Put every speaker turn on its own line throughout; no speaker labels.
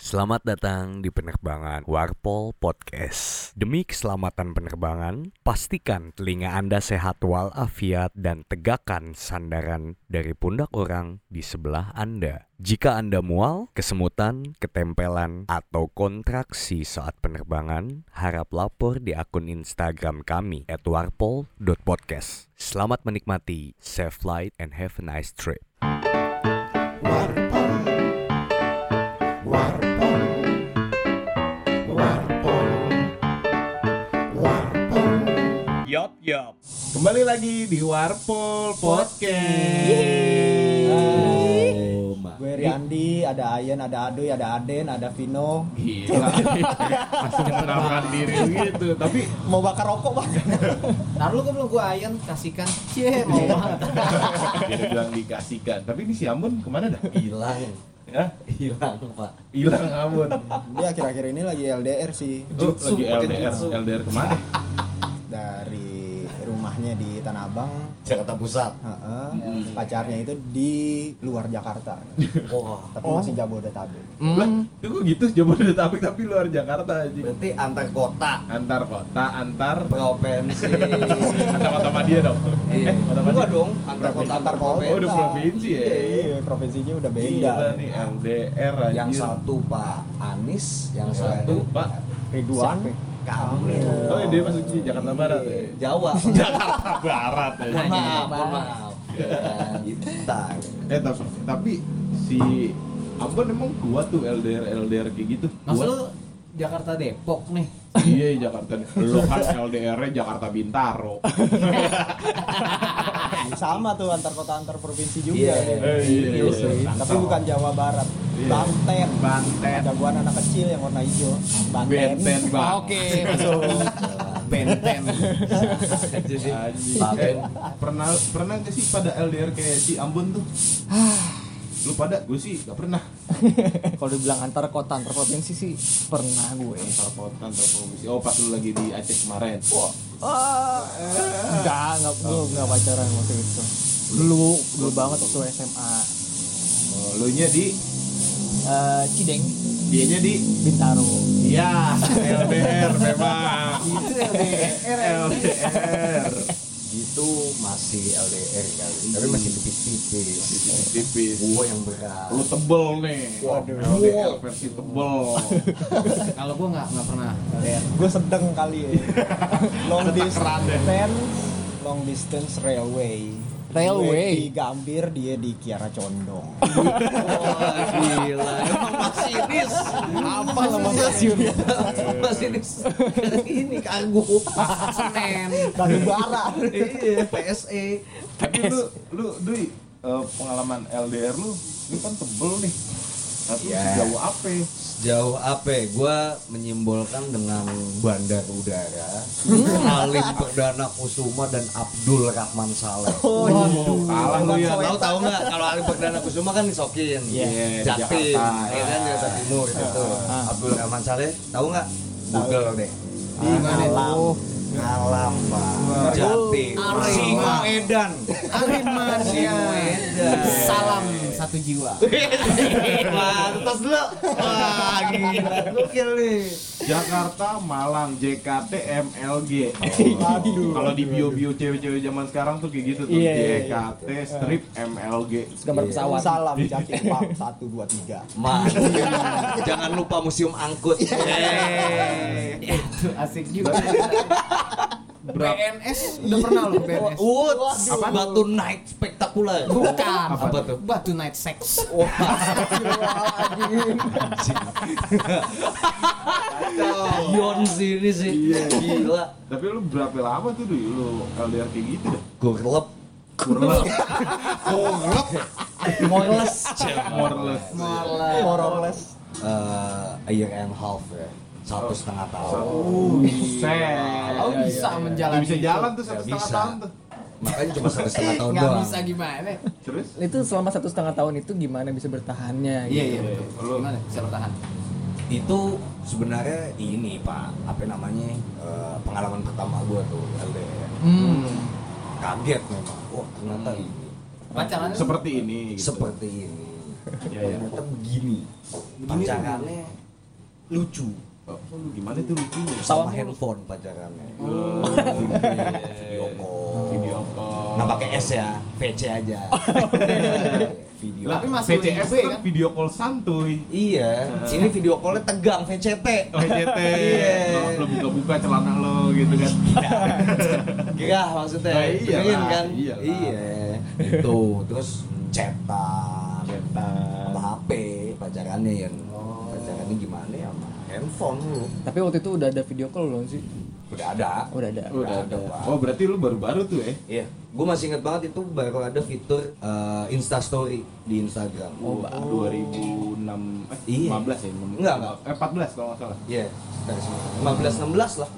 Selamat datang di penerbangan Warpol Podcast. Demi keselamatan penerbangan, pastikan telinga Anda sehat walafiat dan tegakkan sandaran dari pundak orang di sebelah Anda. Jika Anda mual, kesemutan, ketempelan, atau kontraksi saat penerbangan, harap lapor di akun Instagram kami at warpol.podcast. Selamat menikmati, safe flight, and have a nice trip.
Warpol Warpol Warpol Warpol
Yup, yup.
Kembali lagi di Warpol Podcast
Gue Riyandi, ada Ayen, ada Adoy, ada Aden, ada Vino.
Gila Masih menerapkan diri gitu Tapi
Mau bakar rokok, Bang.
Ntar lu gue belum gue ayan kasihkan Cie mau banget
Dia bilang dikasihkan Tapi ini si Ambon kemana dah?
Hilang
Hah?
Hilang pak
Iya. Hilang Ambon
Dia akhir-akhir ini lagi LDR sih
Lu Oh, lagi LDR LDR kemana?
dari rumahnya di Tanah Abang.
Jakarta Pusat
Heeh.
Iya.
Hmm. Pacarnya itu di luar Jakarta.
Wah
Tapi masih
Oh.
Jabodetabek.
Hmm.
Lah, itu kok gitu Jabodetabek tapi luar Jakarta aja
Berarti antar kota
Antar kota, antar
Provinsi
Antar kota Madia dong
Iya.
Eh, kota Madia
Enggak dong Antar kota antar provinsi
Oh, udah provinsi ya?
Iya, provinsinya udah beda.
Gila nih LDR aja
Yang satu Pak Anies Yang
Iya.
satu
Pak
Ridwan.
Siapa? Kamil
Oh, dia masuk di Jakarta Barat
Iya.
ya?
Jawa
Jakarta Barat ya.
Mohon Maaf Gitu. mohon Maaf Entar
Eh tapi, tapi si Ambon emang kuat tuh LDR LDR kayak gitu.
Maksud
Kuat.
lu Jakarta Depok nih
Iya Jakarta nih. Lo kan LDR-nya Jakarta Bintaro.
Nah, Sama tuh antar kota antar provinsi juga.
Iya, iya.
Eh, iya, iya.
Tapi bukan Jawa Barat.
Iya.
Banten.
Banten.
Ada gua anak kecil yang warna hijau. Banten.
Benten
Ah,
bang.
masuk Benten Jadi
Anjing. Eh,
Banten.
pernah pernah gak sih pada LDR kayak si Ambon tuh?
Ah.
Lu pada gue sih gak pernah.
Kalau dibilang antar kota antar provinsi sih pernah gue.
Antar kota antar provinsi. Oh pas lu lagi di Aceh kemarin. Wah.
Enggak, enggak gue enggak pacaran waktu itu. Dulu dulu banget waktu SMA.
Lu nya di
Eh, Cideng,
dianya di
Bintaro.
Iya, LDR memang.
Itu LDR
LDR.
itu masih LDR kali tapi masih tipis-tipis
Tipis.
gua yang berat
Lu tebel nih. Waduh. LDR versi tebel.
kalau gua nggak nggak pernah
gue sedang kali ya long
Ketekeran deh.
distance long distance railway
Railway?
Gue di Gambir dia di Kiara Condong
gila emang masinis apa
Emang masinis?
masinis ini kanggu senen
batu bara
iya PSE
E, Tapi lu lu Dwi eh, pengalaman LDR lu ini kan tebel nih. Tapi
Iya.
sejauh apa?
jauh apa ya, gua menyimbolkan dengan bandar udara Alim Perdana Kusuma dan Abdul Rahman Saleh
Waduh, kalah lu ya.
Tahu tahu nggak kalau Ali Perdana Kusuma kan disokin,
Iya,
Jatim,
Jakarta.
ya kan Jakarta Timur gitu. Abdul Rahman Saleh, tahu nggak? Google deh. Di mana itu? Alam pak, Jatim, Singo Edan, Ariman, Singo Edan, Salam satu jiwa. Lantas dulu, wah gila, gokil nih.
Jakarta, Malang, JKT, MLG.
Aduh.
Kalau di bio-bio cewek-cewek zaman sekarang tuh kayak gitu tuh.
Iya, iya, iya.
JKT, strip, MLG.
Gambar pesawat.
salam jatim pak satu dua tiga
Man, jangan lupa museum angkut. Yeay.
Asik juga.
BNS udah pernah lo BNS. Woods, apa batu night spektakuler. Bukan. Apa, tuh?
Batu night sex.
Beyond ini sih. Gila.
Tapi lu berapa lama tuh Dwi lu LDR kayak gitu dah?
Gorlep.
Kurang
Moles.
Morles.
Moroles
Eh, a year and half ya. Satu setengah tahun.
Oh,
bisa
Nggak
menjalani.
bisa jalan tuh satu
Nggak
setengah
bisa.
tahun tuh.
Makanya cuma satu setengah tahun
Nggak
doang.
bisa gitu. gimana?
Terus?
Itu selama satu setengah tahun itu gimana bisa bertahannya? gitu.
iya betul. Lu
bisa bertahan?
Itu sebenarnya ini pak, apa namanya eh, pengalaman pertama gua tuh LDR.
Hmm.
Kaget memang. Wah ternyata ini
Pacaran
seperti ini gitu.
seperti ini. ternyata Iya, begini pacarannya lucu
Oh, lu gimana tuh lucunya?
sama handphone pacarannya video call
Video call.
nggak pakai S ya VC aja video
Lah,
masih
VCS
USB,
kan
kan?
video call santuy.
iya ini video callnya tegang VCT
VCT,
Oh, Iya.
lo buka-buka celana lo gitu kan.
Gerah maksudnya.
Nah, iyalah,
Pengen kan?
iyalah.
Itu terus cetak, sama HP, pacarannya ya. Pacarannya gimana ya sama handphone lu?
iya.
Tapi waktu itu udah ada video call belum sih?
Udah ada.
Udah ada.
Udah ada.
Oh, berarti lu baru-baru tuh eh.
Iya, gue masih inget banget itu baru ada fitur eh, Insta Story di Instagram.
Oh, 2006 eh
Iya.
15 ya? enam-
Enggak, enggak.
Eh 14 kalau nggak salah.
Iya, dari sini. 15 16 lah.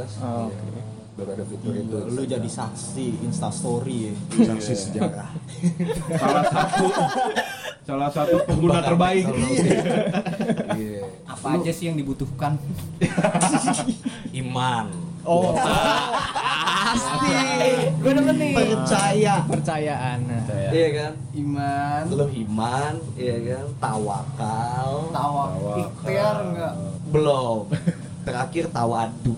15 16.
Oh,
Iya. Baru ada fitur itu. Iya,
Lu
Instagram.
jadi saksi instastory ya.
saksi sejarah.
Salah satu salah satu pengguna terbaik.
Iya.
Apa aja sih yang dibutuhkan?
Iman.
Oh,
gue demen nih percaya
percayaan.
iya kan
Iman,
lu iman iya kan tawakal
tawa, ikhtiar enggak?
belum terakhir tawadu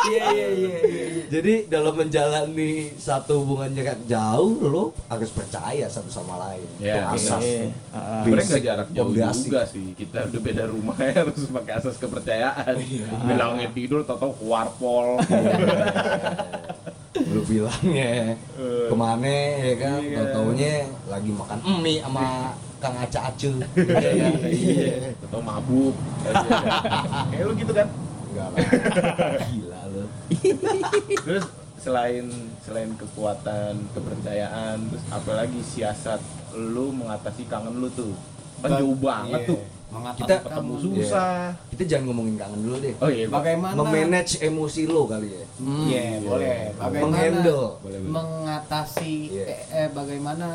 Iya iya iya. iya. Jadi dalam menjalani satu hubungan jarak jauh lo harus percaya satu sama lain.
Iya,
Itu asas.
Iya. Ah,
Sebenarnya nggak jarak jauh
Pondasi.
juga sih. Kita udah beda rumah ya harus pakai asas kepercayaan.
Iya.
Bilangnya tidur atau ke warpol.
Lu bilangnya ya. kemana ya kan?
Eh. Iya.
Tau taunya lagi makan mie sama Kang Aca Acu. Iya kan?
Iya. Atau mabuk. Kayak lu gitu kan.
Enggak lah. Gila lu.
Terus selain selain kekuatan, kepercayaan, terus apalagi siasat lu mengatasi kangen lu tuh. Kan jauh banget
iya.
tuh. Kita ketemu susah.
Kita jangan ngomongin kangen dulu deh.
Oh iya.
Bagaimana?
Memanage emosi lo kali ya.
Hmm, Iya, boleh. Bagaimana?
Menghandle.
Boleh, boleh.
Mengatasi
Iya.
eh, eh, bagaimana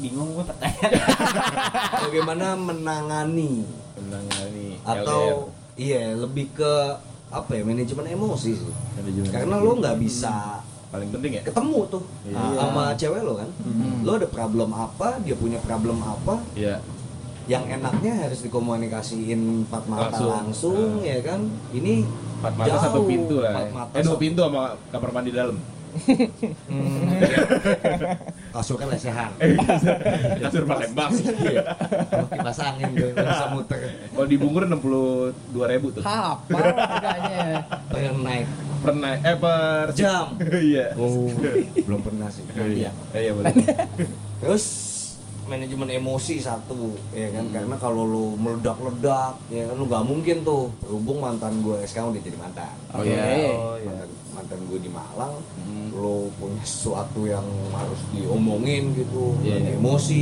bingung gue pertanyaan.
Bagaimana menangani
Menangani ya.
atau iya lebih ke apa ya manajemen emosi sih.
Manajemen
Karena lo nggak bisa
LDR. paling penting ya.
ketemu tuh
Iya.
sama cewek lo kan.
Hmm.
Lo ada problem apa, dia punya problem apa,
Iya.
yang enaknya harus dikomunikasiin empat mata
Langsung. Nah.
langsung, ya kan. Ini
Empat mata
jauh.
satu pintu lah.
Empat mata
eh dua
satu-
pintu sama kamar mandi dalam.
kasurnya lesehan.
Iya. Kasur Palembang.
Iya. Kalau kipas angin gue nggak bisa muter.
Kalau di Bungur 62 ribu tuh.
Ah,
Apa bedanya ya?
Per night,
Per night- eh per
per jam.
Iya.
Oh, belum pernah sih.
Iya.
Iya.
Iya boleh.
Terus manajemen emosi satu, ya kan? Karena kalau lu meledak-ledak, ya kan lu nggak mungkin tuh. Berhubung mantan gue sekarang udah jadi mantan.
Oh iya. Oh iya. Hmm.
Mantan, mantan gue di Malang, lu punya sesuatu yang harus diomongin gitu,
Iya,
dan
iya.
emosi.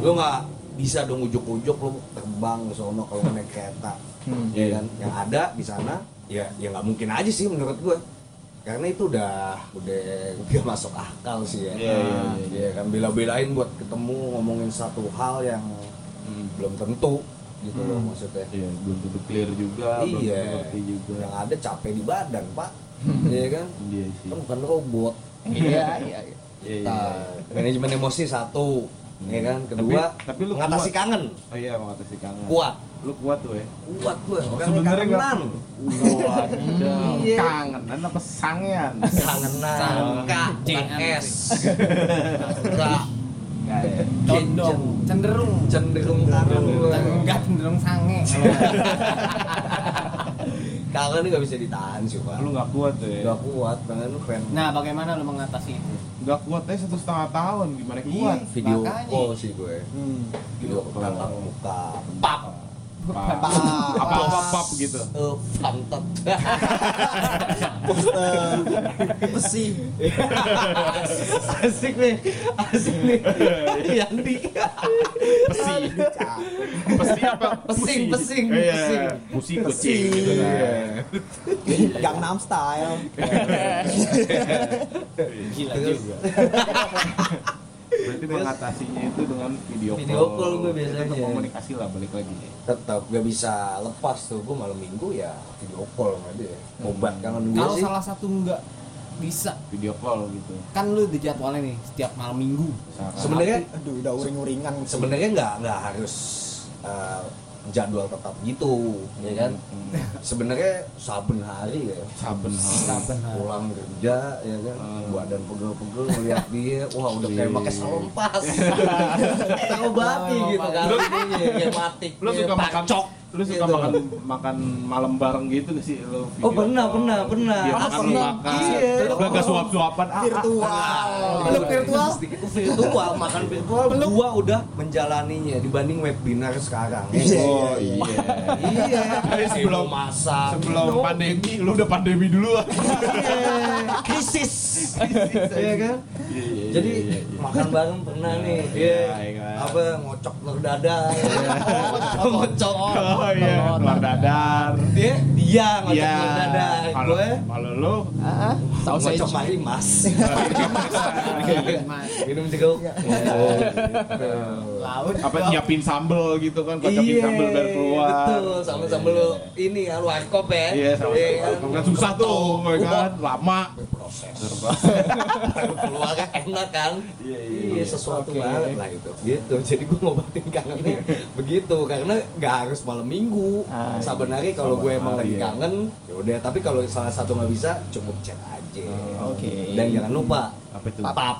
Lu nggak bisa dong ujuk-ujuk lu terbang ke sono kalau naik kereta,
Hmm.
ya
Iya.
kan? Yang ada di sana, ya ya nggak mungkin aja sih menurut gue. Karena itu udah udah udah masuk akal sih ya.
Iya, iya, iya.
Iya kan bela-belain buat ketemu ngomongin satu hal yang belum tentu gitu loh maksudnya.
Iya, belum tentu clear juga, belum
Iya.
tentu ngerti juga.
Yang ada capek di badan, Pak. Iya kan?
Iya sih.
Kita bukan robot.
Iya, iya. iya.
Iya, iya.
Nah, manajemen emosi satu. Iya kan? Kedua,
Tapi- tapi lu
mengatasi
kuat.
kangen.
Oh iya, mengatasi kangen.
Kuat.
Lu kuat tuh ya.
Kuat gue. Orangnya
Sebenarnya nggak-
kangenan. Iya.
Kangenan apa sangean?
Kangenan. K, bukan
Jangan.
S. K.
Condong, cenderung,
Cenderung kangen gue.
enggak cenderung sange.
Kangen ini gak bisa ditahan sih, Pak.
Lu nggak kuat tuh ya.
Gak kuat, pengen lu pengen
nah, bagaimana lu mengatasi itu?
Nggak kuat aja satu setengah tahun gimana kuat?
Iya.
video
Makanya.
call sih gue
Hmm.
video call tatap muka
Pap.
Apa apa pap gitu.
eh pantat
Besi.
asik nih asik nih Yanti
Pesi. Pesi apa?
Pesing,
Pusi.
pesing,
Iya.
pesing. Iya.
Pusi kucing gitu kan.
Gangnam Style.
Gila
Terus,
juga.
Berarti mengatasinya itu dengan video call.
Video call gue biasanya.
Itu komunikasi lah balik lagi.
tetap gak bisa
Hmm.
lepas tuh gue malam minggu ya video call sama dia obat kangen gue
Kalau
sih
salah satu enggak bisa
video call gitu
kan lu dijadwalnya nih setiap malam minggu
Sekarang
sebenarnya
aduh udah uring-uringan
sebenarnya nggak nggak harus eh, jadwal tetap gitu ya
Iya
kan sebenarnya saben hari ya
saben
Saben hari.
pulang kerja ya kan badan pegel-pegel melihat dia wah udah kayak pakai selompas kayak obati gitu kan kayak Iya, mati
lu suka makan cok lu suka
Gitu.
makan makan malam bareng gitu gak sih lu
Oh, pernah, pernah, pernah.
dia
Pernah,
makan lu
Ah, pernah.
makan
Iya.
lu agak suap suapan ah, ah.
virtual
Lu virtual itu virtual makan virtual gua udah menjalaninya dibanding webinar sekarang
oh iya
iya
Tapi sebelum-
masak
sebelum pandemi lu udah pandemi dulu ah.
krisis iya kan jadi makan bareng pernah nih iya apa ngocok telur dadar ngocok
oh iya keluar dadar
dia dia ngocok
Iya,
telur dadar ya.
kalau
gue
kalau lu
Oh, ngocok mari mas minum juga
laut
apa nyiapin sambel gitu kan kocokin
Iya,
sambel biar keluar
betul sama sambel lu ini ya lu warkop ya
iya sama
Iya kan?
sama kan susah tuh ya kan lama
proses Baru keluar kan enak kan iya, sesuatu banget lah gitu gitu jadi gue ngobatin
Iya.
kangennya begitu karena nggak harus malam minggu
Ah,
sebenarnya kalau gue emang lagi
iya.
kangen yaudah tapi kalau salah satu nggak bisa cukup chat aja
Oh.
Oke.
dan jangan lupa
apa itu
pap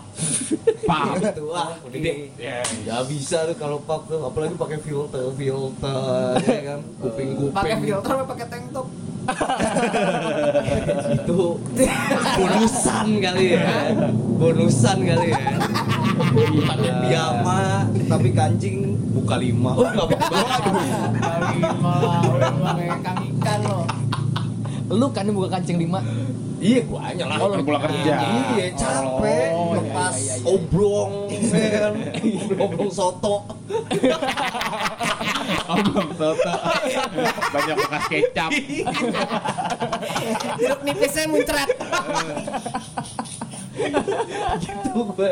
pap
itu ah udah deh
Iya.
Gak bisa tuh kalau pap tuh apalagi pakai filter filter ya kan kuping kuping
pakai filter apa pakai tank top
itu bonusan kali ya bonusan kali ya pakai piyama tapi kancing buka lima oh nggak apa-apa
kali malah ikan ikan lo
Lu kan yang buka kancing lima.
iya gua aja lah
Oh, lu pulang kerja.
iya capek
Oh, iya,
lepas oblong ya kan oblong soto
Oh, belum soto. Banyak bekas kecap.
jeruk nipisnya muncrat
itu gue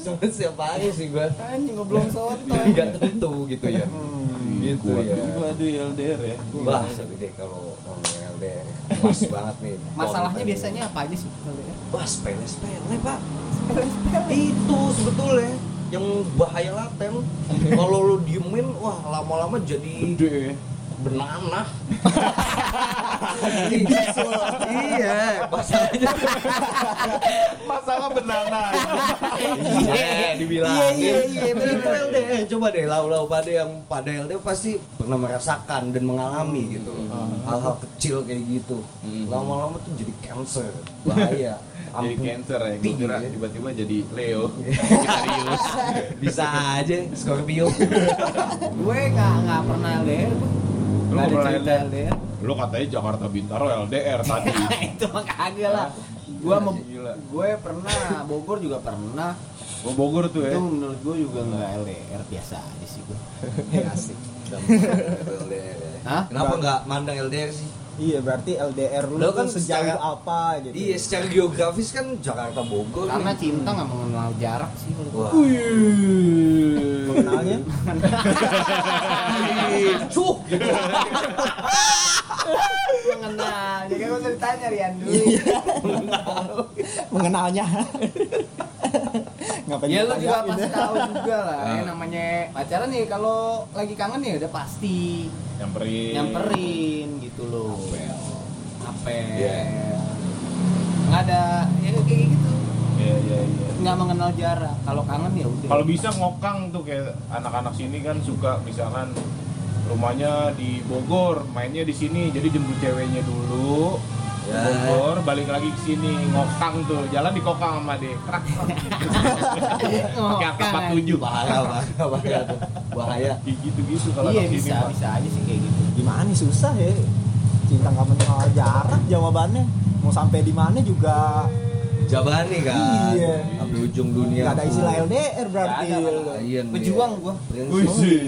cuma
Iya.
siapa aja sih gue
anjing ngoblong soto
nggak tentu gitu ya gitu ya
Hmm. Waduh, LDR ya.
wah sedih deh kalau ngomongin LDR ya, pas banget nih
masalahnya
Konten.
biasanya apa aja sih
Wah, sepele-sepele, Pak. Itu sebetulnya yang bahaya laten. Kalau lu diemin, wah lama-lama jadi
Gede ya.
benanah. iya, masalahnya
Masalah benana.
iya, dibilang. Iya, iya, iya. Coba deh lau-lau pada yang pada LD pasti pernah merasakan dan mengalami gitu. Hal-hal kecil kayak gitu. Lama-lama tuh jadi cancer, bahaya.
Jadi
Ampun.
cancer ya. Gue
Tinggi
kira
ya.
tiba-tiba jadi Leo.
Iya.
Sagittarius.
Bisa aja Scorpio.
gue nggak nggak pernah LDR gue.
Lu
Nggak
nggak
ada
pernah
cerita
LDR?
LDR
Lu katanya Jakarta Bintaro LDR tadi.
itu mah kagak lah gue mau
Gila.
gue pernah Bogor juga pernah
Gua Bogor tuh ya.
itu menurut gue juga nggak LDR biasa aja sih gue
Ya, asik. LDR.
Hah?
Kenapa nggak mandang LDR sih?
iya berarti LDR lu
Lo kan
kan sejauh
secara-
apa gitu
Iya, secara geografis kan Jakarta Bogor.
karena
nih.
cinta nggak mengenal jarak sih kalau gue.
Wah.
kenalnya
Cuh, gitu.
mengenal jadi kan gue ditanya Rian dulu
Mengenalnya. Ngapain?
ya lu juga
ditanyain?
pasti tahu juga lah
Ah.
ya, namanya pacaran nih kalau lagi kangen ya udah pasti
Nyamperin.
nyamperin gitu loh
Apel.
apel
Iya.
nggak ada ya kayak gitu
Iya, iya, iya.
nggak mengenal jarak kalau kangen ya udah
Kalau bisa ngokang tuh kayak anak-anak sini kan suka misalkan rumahnya di Bogor, mainnya di sini. Jadi jemput ceweknya dulu. ke
Ya.
Bogor, balik lagi ke sini ngokang tuh. Jalan di kokang sama deh. Krak. Pakai AK 47.
bahaya, bahaya, bahaya tuh. Bahaya.
Kayak gitu-gitu kalau
iya
anak sini.
bisa
Pak.
bisa aja sih kayak gitu
gimana nih susah ya cinta nggak mengenal jarak jawabannya mau sampai di mana juga
Jabani kan.
Iya.
Sampai ujung dunia.
nggak ada
pun.
istilah LDR berarti
Nggak ada,
Lain dia.
pejuang gua
Prince.
Wih, sih.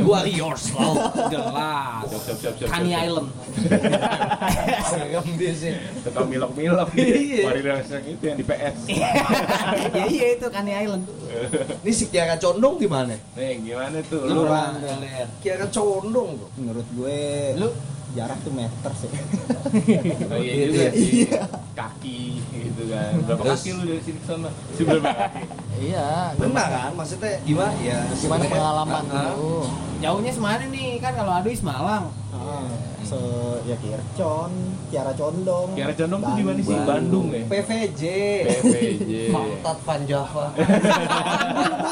Warriors loh.
jelas
Siap, siap, siap, siap,
Kani
siap.
Island
Serem dia sih.
Tetap milok-milok
Iya.
dia. Warriors yang itu yang di PS.
ya iya itu Kani Island
Ini si Kiara Condong di mana?
Nih, Eh, gimana tuh?
lu
Lu
pernah LDR
Kiara Condong tuh.
menurut gue
lu
jarak tuh meter sih
Oh, iya juga sih. Kaki gitu kan. Berapa
Terus-
kaki lu dari sini ke sana? Si berapa kaki?
Iya.
Benar kan? Maksudnya gimana ya?
Gimana pengalaman
Ah,
lu?
Jauhnya semana nih kan kalau aduh Malang.
Ah, so ya Kircon Kiara Condong
Kiara Condong tuh di mana sih? Bandung
Bandung.
ya.
PVJ.
PPJ.
Pantat Van Java.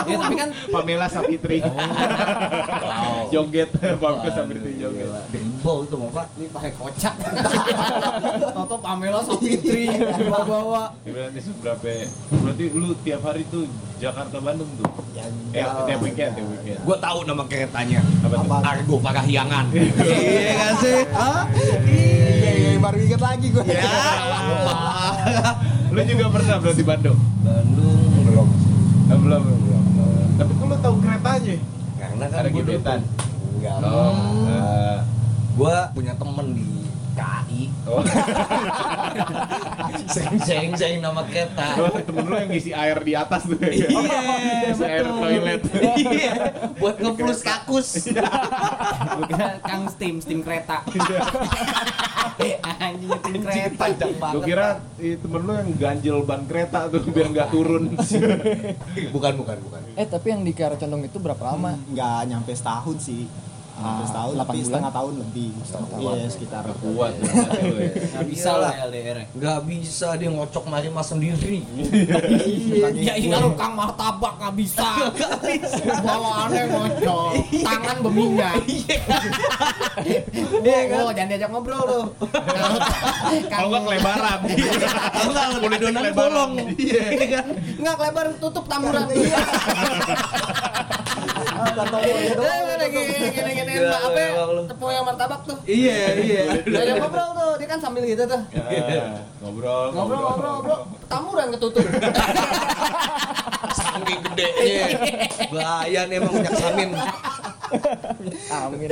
Ya tapi kan
Pamela Sapitri. Oh.
Wow.
Joget Pamela Sapitri
ya.
joget.
Debol tuh mau Pak.
ini pakai kocak. Toto Pamela Sapitri bawa-bawa.
Berarti berapa? ya? Berarti lu tiap hari tuh Jakarta Bandung tuh.
ya
Eh,
enggak
tiap
lah.
weekend, tiap weekend.
Gua tahu nama keretanya.
Apa tuh?
Apa?
Argo Parahyangan. Iya kan sih? Hah? Iya.
Iya, iya, baru inget lagi gue
Ya.
Lu juga pernah berarti Bandung?
Bandung belum.
Eh, belum, belum, belum. Tapi kok lu tahu keretanya?
Karena kan
Ada
gua dulu-
gebetan.
Enggak.
Oh. eh,
Gua punya temen di KI.
Oh.
Sering-sering nama kereta.
Oh, temen lu yang ngisi air di atas tuh ya?
Iya,
Ngisi air toilet
Iya. Buat ngeplus kakus.
Bukan Kang Steam, Steam kereta.
Iya.
Anjing Steam kereta.
Panjang
Gue
banget.
kira eh, temen lu yang ganjel ban kereta tuh biar nggak turun
Bukan, bukan, bukan.
Eh tapi yang di Kiara Condong itu berapa lama?
Hmm, nggak nyampe setahun sih
Ah,
nyampe setahun
delapan
tapi
bulan?
setengah tahun lebih iya sekitar
Kuat ya, lu ya.
Nggak bisa lah LDR.
Gak bisa dia ngocok mari mas sendiri.
Ya ini Iya, kalau Kang Martabak nggak bisa. Bawaannya ngocok, tangan berminyak. Iya kan? Oh, jangan diajak ngobrol lu.
Kalau nggak kelebaran
Enggak, boleh donan bolong. Iya kan?
Enggak lebar tutup tamuran.
Iya.
Iya. Eh, mana gini gini gini
Gila,
Mbak, apa ya?
emang lu.
Tepung yang martabak tuh.
Iya, iya.
Diajak ngobrol tuh, dia kan sambil gitu tuh.
Ya, Ngobrol,
Ngobrol ngobrol ngobrol, tamuran ketutup.
Saking gedenya. Bahaya nih emang minyak samin.
Amin.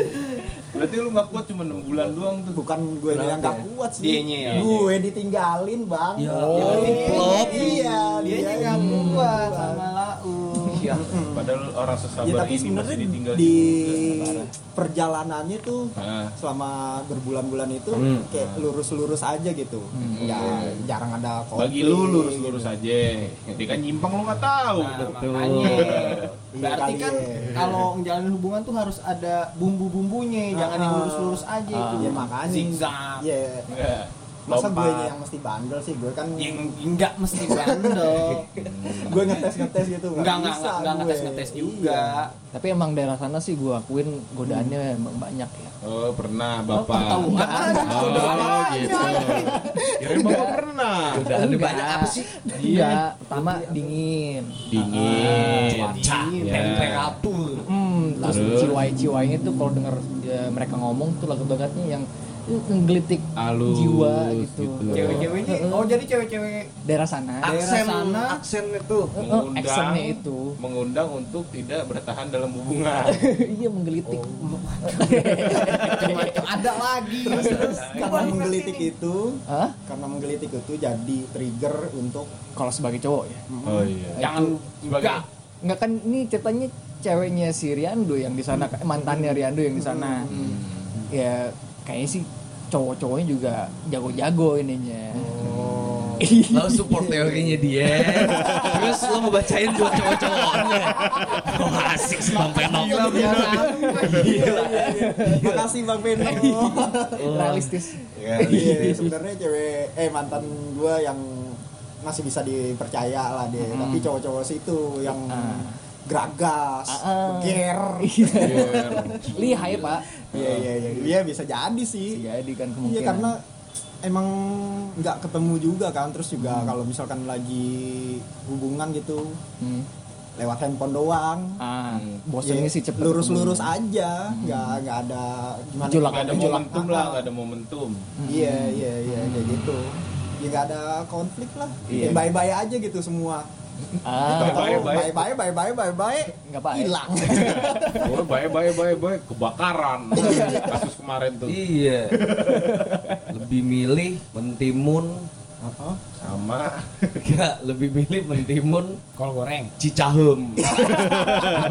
Berarti lu nggak kuat cuma 6 bulan doang tuh
bukan gue yang nggak
Nah,
kuat sih
Dianya ya.
gue ditinggalin bang
Ya, dia diplop.
iya
Dia
dia
nggak kuat sama lau.
Iya.
Padahal orang sesabar
ya tapi
ini masih
sebenarnya
ditinggal
di
juga.
perjalanannya tuh
Ah.
selama berbulan-bulan itu
Hmm.
kayak lurus-lurus aja gitu nggak jarang ada
Bagi lu lurus-lurus aja Dia kan nyimpang lu nggak tahu
Nah, makanya
Iya
berarti
kali
kan
ya.
kalau ngejalanin hubungan tuh harus ada bumbu-bumbunya, jangan
Ah,
yang lurus-lurus aja itu.
ya makanya
Zigzag.
Iya.
Iya.
masa gue
Lompat. Iya.
yang mesti bandel sih gue kan
Yang enggak mesti bandel.
gue ngetes ngetes gitu
enggak enggak
bisa
enggak, enggak
gue.
ngetes-ngetes juga.
Tapi emang daerah sana sih gua akuin godaannya
Hmm.
emang banyak ya.
Oh pernah bapak
Tahu aja.
Oh gitu Kirain bapak pernah
Godaan dia banyak apa sih?
Iya, pertama dingin.
Oh,
Dingin
Cak, temperatur.
Hmm, terus
Terus?
ciwai-ciwainya tuh kalau denger ya, mereka ngomong tuh lagu-lagunya yang eh, menggelitik
Halus,
jiwa gitu.
gitu.
Cewek-ceweknya oh Ah. jadi cewek-cewek
Daerah sana.
Daerah
Aksen,
sana.
aksen itu.
Eh, eh,
Mengundang.
actionnya itu.
Mengundang untuk tidak bertahan dalam hubungan
iya menggelitik.
macam-macam ada lagi.
karena menggelitik itu
Hah?
karena menggelitik itu jadi trigger untuk
Kalau sebagai cowok ya.
Oh iya
Jangan
Sebagai
enggak
Enggak kan ini ceritanya ceweknya si Riando yang di sana
Hmm.
eh, mantannya Riando yang di sana.
Hmm.
Ya kayaknya sih cowok-cowoknya juga jago-jago ininya.
Oh.
Iya,
Lalu support teorinya dia. Terus lo mau bacain buat cowok-cowoknya. Oh, asik sih Bang Penong.
Gila, biasa.
Iya.
makasih bang Beno
Realistis.
iya sebenarnya cewek eh mantan gue yang masih bisa dipercaya lah dia tapi cowok-cowok sih itu yang geragas
Ah, ah.
ger
Lihai, Pak.
iya iya iya Iya, bisa jadi sih
Jadi kan kemungkinan.
Iya karena emang nggak ketemu juga kan terus juga kalau misalkan lagi hubungan gitu
Hmm.
lewat handphone doang
Ah, bosannya
Ya,
sih cepet Ah,
lurus-lurus aja nggak nggak ada gimana Ah,
Julak
Gak ada
Julak.
momentum lah Gak ada momentum
iya iya iya kayak gitu ya nggak ada konflik lah
Iya.
ya bye-bye aja gitu semua
ketemu. Ah,
Bye-bye,
bye-bye
bye.
bye-bye bye-bye bye-bye
nggak apa
hilang
Oh bye bye bye bye Kebakaran Kasus kemarin tuh
Iya. Lebih milih mentimun
Sama
Enggak, lebih milih mentimun
Kol goreng.
Cicahem.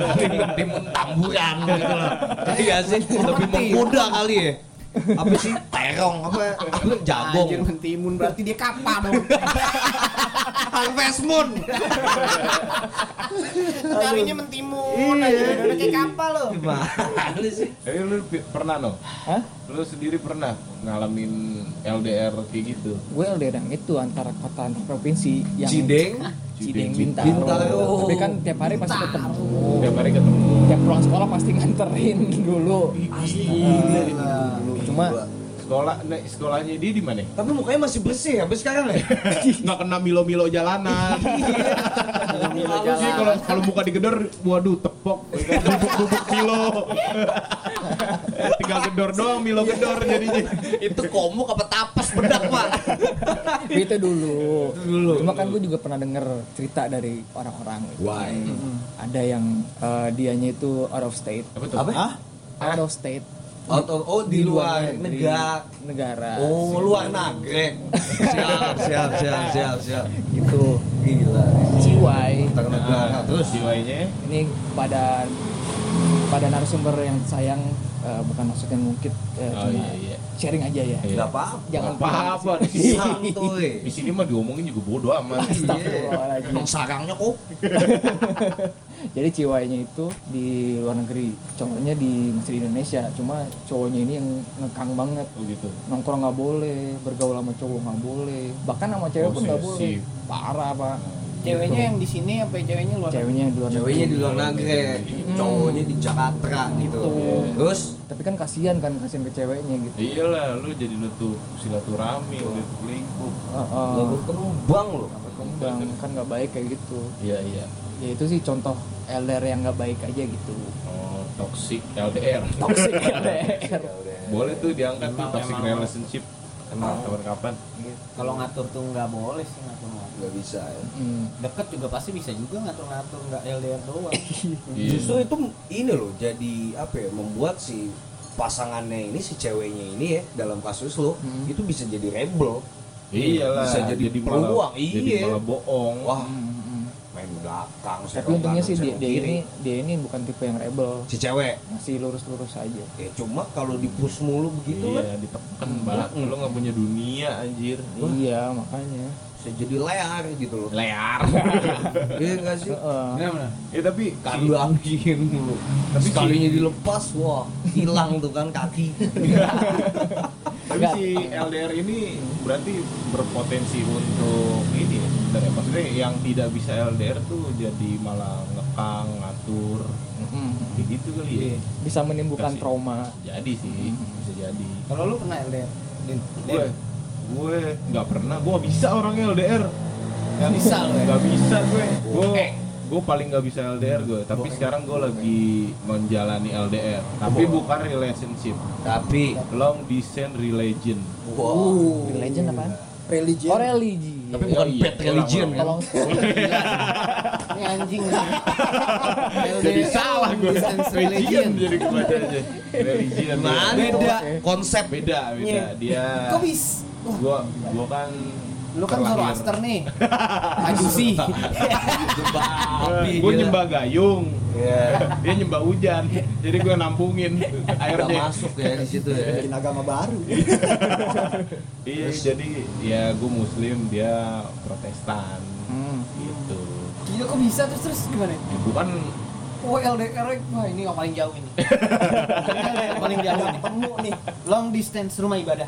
mentimun tamburan gitu loh. Iya sih, lebih menggoda kali ya. apa sih terong apa apa jagong
Anjir mentimun berarti dia kapa dong.
harvest moon
Nyarinya mentimun aja. Udah kayak kapa loh.
gimana sih
Tapi lu pi- pernah no?
Hah?
Lu sendiri pernah ngalamin LDR kayak gitu?
Gue LDR itu antara kota antar provinsi yang
cideng
Cideng
Cideng,
Bintaro.
Bintaro.
Tapi kan tiap hari pasti ketemu.
Tiap hari ketemu.
Tiap pulang sekolah pasti nganterin dulu. Cuma
Sekolah, nah, sekolahnya dia di mana?
tapi mukanya masih bersih habis sekarang ya Iya,
Nggak kena milo-milo jalanan. Halus sih kalau kalau muka digedor, waduh tepok, bubuk-bubuk milo. Tinggal gedor doang, milo
Iya.
gedor jadinya.
itu komuk apa tapas bedak pak
itu dulu. Cuma kan gue juga pernah denger cerita dari orang-orang. gitu.
why
Mm-mm. Ada yang eh, dianya itu out of state.
Apa tuh?
apa
Out of state.
out of- oh di luar
negeri,
negara
negara.
oh luar nagrek siap siap siap siap siap
Gitu.
gila
Ciwai.
tentang
Nah,
negara terus
Jiwanya
Ini pada pada narasumber yang sayang eh, bukan maksudnya mungkin eh,
Oh,
cuma
iya, iya.
sharing aja ya.
Iya.
nggak apa
Jangan
apa-apa di sini.
Iya.
Di
santuy
sini mah diomongin juga bodoh amat.
Iya, Astagfirullahaladzim.
Emang sarangnya kok
Jadi ciwainya itu di luar negeri, cowoknya di masih di Indonesia, cuma cowoknya ini yang ngekang banget,
Oh gitu.
nongkrong nggak boleh, bergaul sama cowok nggak boleh, bahkan sama cewek
Oh,
pun nggak boleh,
posesif.
parah pak.
Ceweknya yang di sini apa ceweknya luar?
Ceweknya yang di luar negeri.
ceweknya di luar negeri
Hmm.
cowoknya di Jakarta gitu terus
Tapi kan kasihan kan kasihan ke ceweknya
Iya.
gitu.
Iyalah, lu jadi nutup silaturahmi, nutup lingkup.
Heeh.
lagu kerubang loh
Kembang, kan nggak baik kayak gitu.
Iya iya.
Ya itu sih contoh LDR yang nggak baik aja gitu.
Oh, toxic LDR.
Toxic LDR.
Boleh tuh diangkat tuh toxic relationship. Kenal kapan-kapan.
Kalau ngatur tuh nggak boleh sih ngatur ngatur.
nggak bisa ya
Hmm.
Deket juga pasti bisa juga ngatur ngatur nggak LDR doang.
Iya.
justru itu ini loh jadi apa ya membuat si pasangannya ini si ceweknya ini ya dalam kasus lo
Hmm.
itu bisa jadi rebel
Iyalah,
bisa jadi,
malah-
peluang
Iya Jadi
iya
malah bohong.
wah
hmm, hmm.
main belakang
Tapi
serong
untungnya
kanan,
sih dia,
serong
dia
kiri.
ini dia ini bukan tipe yang rebel,
si cewek
masih lurus-lurus aja.
ya cuma kalau di push mulu begitu
iya,
kan
ditekan banget. Lu nggak punya dunia anjir.
Iya makanya.
bisa jadi lear gitu loh
Lear.
iya nggak sih
Heeh.
ya tapi
kandangin mulu tapi sekalinya dilepas wah hilang tuh kan kaki
tapi si LDR ini berarti berpotensi untuk ini ya sebenarnya. Maksudnya yang tidak bisa LDR tuh jadi malah ngekang, ngatur.
Mm-mm.
Kayak gitu kali ya.
Hmm.
Iya.
Bisa menimbulkan
Kasih.
trauma.
Jadi sih, bisa jadi.
Kalau lu pernah LDR? Din?
gue gue nggak pernah gue nggak bisa orangnya LDR
Nggak bisa lu ya? Eh.
nggak bisa gue gue gue paling nggak bisa LDR gue tapi sekarang gue lagi menjalani LDR tapi bukan relationship
tapi
long distance religion
wah
Religion apaan?
religion
Oh religi.
tapi bukan
Iya, iya,
pet religion kan
Tolong
Ini anjing lah.
jadi salah gue
Distance religion.
religion jadi kebacanya religion
Nah,
ya.
beda konsep
beda beda
Iya.
dia
Kok bisa?
gue gue kan
Lu kan
terlahir-
Zoroaster nih. Majusi. Iya.
gue nyembah gayung dia nyembah hujan jadi gue nampungin
nggak
airnya
masuk ya di situ ya
bikin agama baru
iya jadi ya gue muslim dia protestan
Hmm.
gitu
Gila Iya, kok bisa terus terus gimana?
itu kan
Oh LDR wah ini yang paling jauh ini. Ini yang paling jauh ketemu nih. Long distance rumah ibadah.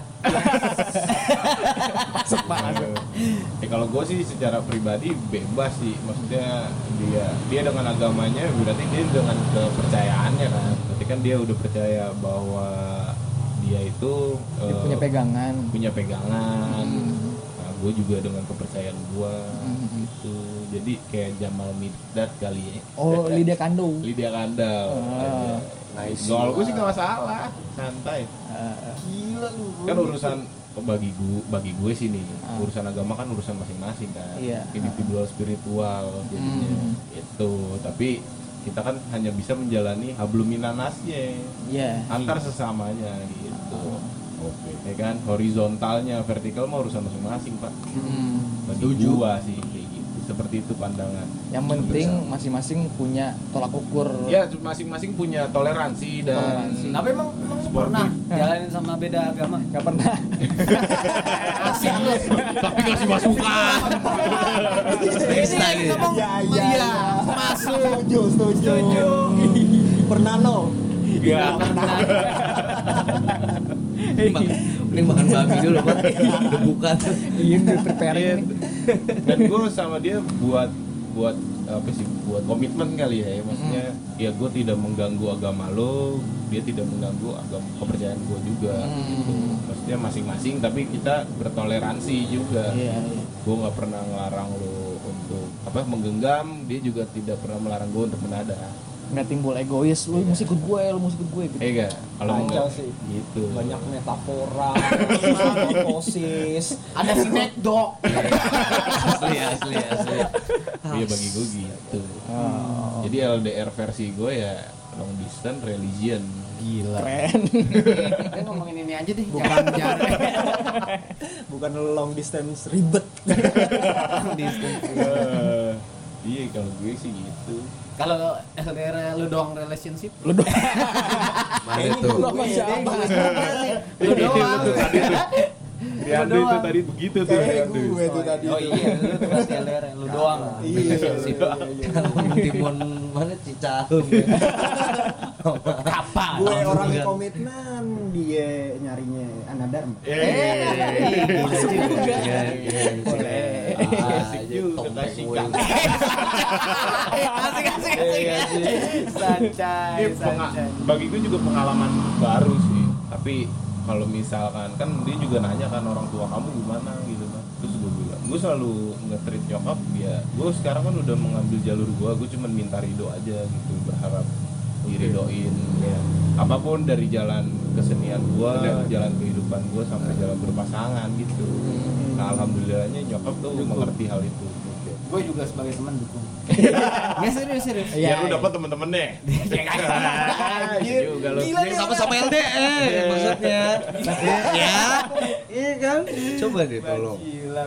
ya kalau gue sih secara pribadi bebas sih maksudnya dia dia dengan agamanya berarti dia dengan kepercayaannya kan berarti kan dia udah percaya bahwa dia itu
Dia
eh,
punya Hmm. pegangan.
punya pegangan nah, gue juga dengan kepercayaan gue
Hmm.
gitu jadi kayak Jamal Mirdad kali ya
Oh lidah kandung.
Lydia Kandel
Ah.
aja. Gol gue sih gak masalah santai
Gila lu.
kan urusan bagi gue bagi gue sih nih urusan agama kan urusan masing-masing kan
Ah. Iya.
individual spiritual jadinya
Hmm.
itu tapi kita kan hanya bisa menjalani habluminanasnya
Iya.
antar sesamanya gitu
Ah.
oke ya kan horizontalnya vertikal mah urusan masing-masing pak
Mm.
bagi gua sih kayak gitu seperti itu pandangan
Yang penting masing-masing punya tolak ukur.
ya masing-masing punya toleransi dan
Toleransi.
Tapi emang, emang lu
Sportif.
pernah
jalanin sama beda agama
Gak pernah.
kasih lu.
tapi kasih masukan
Ini lagi ngomong
Iya, iya,
iya
iya.
masuk.
Setuju, setuju. Pernah lo?
Iya.
ini makan, ini makan babi dulu buat debukan
Iya, udah preparing. nih.
dan gue sama dia buat buat apa sih buat komitmen kali ya, ya. maksudnya
Hmm.
ya gue tidak mengganggu agama lo dia tidak mengganggu agama kepercayaan gue juga gitu.
Hmm.
maksudnya masing-masing tapi kita bertoleransi juga
Iya, iya.
gue nggak pernah ngelarang lo untuk apa menggenggam dia juga tidak pernah melarang gue untuk menada
Nggak timbul egois. Lu mesti ikut gue, lu mesti ikut gue. Gitu.
eh enggak kalau
Kacau
enggak
sih.
gitu
Banyak metafora, metamorfosis.
Ada snack dog.
asli asli asli
Iya
Ah.
bagi gue gitu jadi LDR versi gue ya long distance religion
Keren.
Kita Eh, ngomongin ini aja deh. Eh, Bukan jarak.
Bukan long distance ribet.
Eh, iya kalau gue sih gitu
Kalau LDR lu doang relationship,
mana tuh
Gua sama siapa?
lu
Iya,
doang.
Rianto
doang.
itu tadi begitu tuh
Kayaknya
Rianto.
gue tuh tadi.
oh
tuh.
iya lu tuh berarti LDR lu doang
Iya, iya, iya, iya.
kalau timun mana cicahum ya
Apa?
Gue orang komitmen, dia nyarinya anadharma.
Eh,
Masuk juga. Iya, iya, iya.
Asik
Aja,
juga,
topeng
kasih
gue.
Asik asik
Eh,
asik. Santai,
ini penga-
santai.
bagi gue juga pengalaman baru sih tapi kalau misalkan kan dia juga nanya kan orang tua kamu gimana gitu kan terus gue bilang gue selalu nge-treat nyokap ya gue sekarang kan udah mengambil jalur gue gue cuman minta ridho aja gitu berharap diridoin apapun dari jalan kesenian gue jalan kehidupan gue sampai jalan berpasangan gitu nah alhamdulillahnya nyokap tuh mengerti hal itu
Gue juga sebagai teman dukung. Ya serius serius.
Biar Iya, lu dapet temen-temen deh
Anjir.
juga lu.
Gila
Ini
nih
sama-sama LDR maksudnya. Ya. Iya kan? Coba deh tolong.
Gila.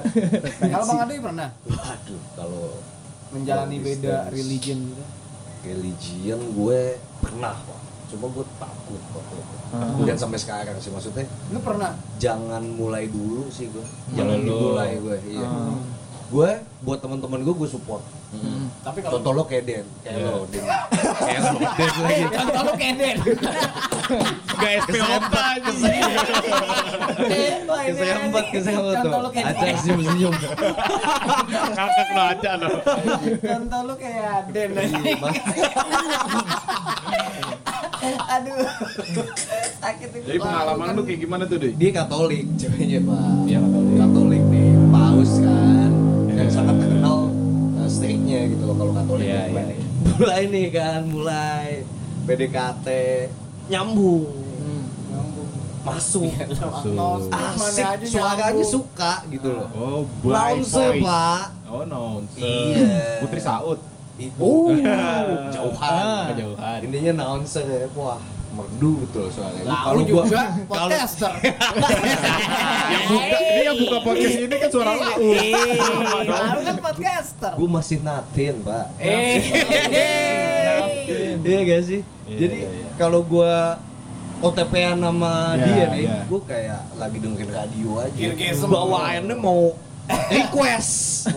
Kalau Bang Ade pernah
Waduh, kalau
menjalani
Long
beda
distance.
religion gitu.
religion gue pernah, Pak. Cuma gue takut waktu itu.
Hmm.
Dan sampai sekarang sih maksudnya
Lu pernah?
jangan mulai dulu sih gue.
Jangan
Jangan
Hmm. dulu. Hmm.
dimulai gue, iya. Gue buat teman-teman gue gue support.
Tapi kalau
Contoh lo kayak Den, kayak
Iya.
lo, Den. Kayak lo, Den lagi.
Eh, contoh lu keden.
Gak SPOK
Kesempet, kesempet tuh.
Contoh lu kayak
Acar senyum-senyum.
Kakak lo aja lo
Contoh lu kayak Den
Iya, Mas.
Aduh. Sakit itu.
Jadi pengalaman lu kayak gimana tuh deh?
Dia Katolik ceweknya pak.
Iya, Katolik.
Katolik nih, paus kan, dan
Iya.
sangat terkenal uh, striknya gitu loh kalau Katolik.
Iya,
kan.
iya.
Mulai nih kan, mulai PDKT nyambung, masuk,
Langsung.
gitu.
Ah,
asik, suaranya suka gitu loh.
Oh,
Bounce pak,
Oh, nonse.
Iya.
Putri Saud.
ibu
Uh.
jauhan,
Kejauhan.
intinya nonsen ya, wah merdu betul soalnya.
Kalau
gua-
juga
kalau
podcaster.
Ah.
Yang buka, ini yang buka podcast ini kan suara lu.
Lalu kan podcaster.
gue masih natin pak
Eh.
iya gak sih
Iya,
jadi
iya, iya.
kalau gue otp an sama
Iya,
dia nih
iya.
gue kayak lagi dengerin radio aja
Kirgisem.
bawaannya mau request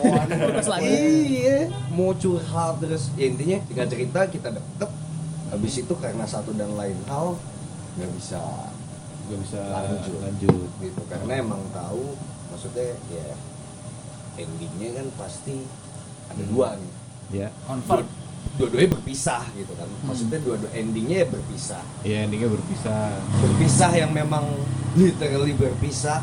iya mau curhat terus ya, intinya tiga cerita kita deket habis itu karena satu dan lain hal nggak bisa
Gak bisa
Lanjut.
lanjut.
gitu karena emang tahu maksudnya ya endingnya kan pasti ada dua nih
Ya.
Convert.
dua-duanya berpisah gitu kan maksudnya
Hmm.
dua-dua endingnya ya berpisah
Iya, endingnya berpisah.
berpisah yang memang literally berpisah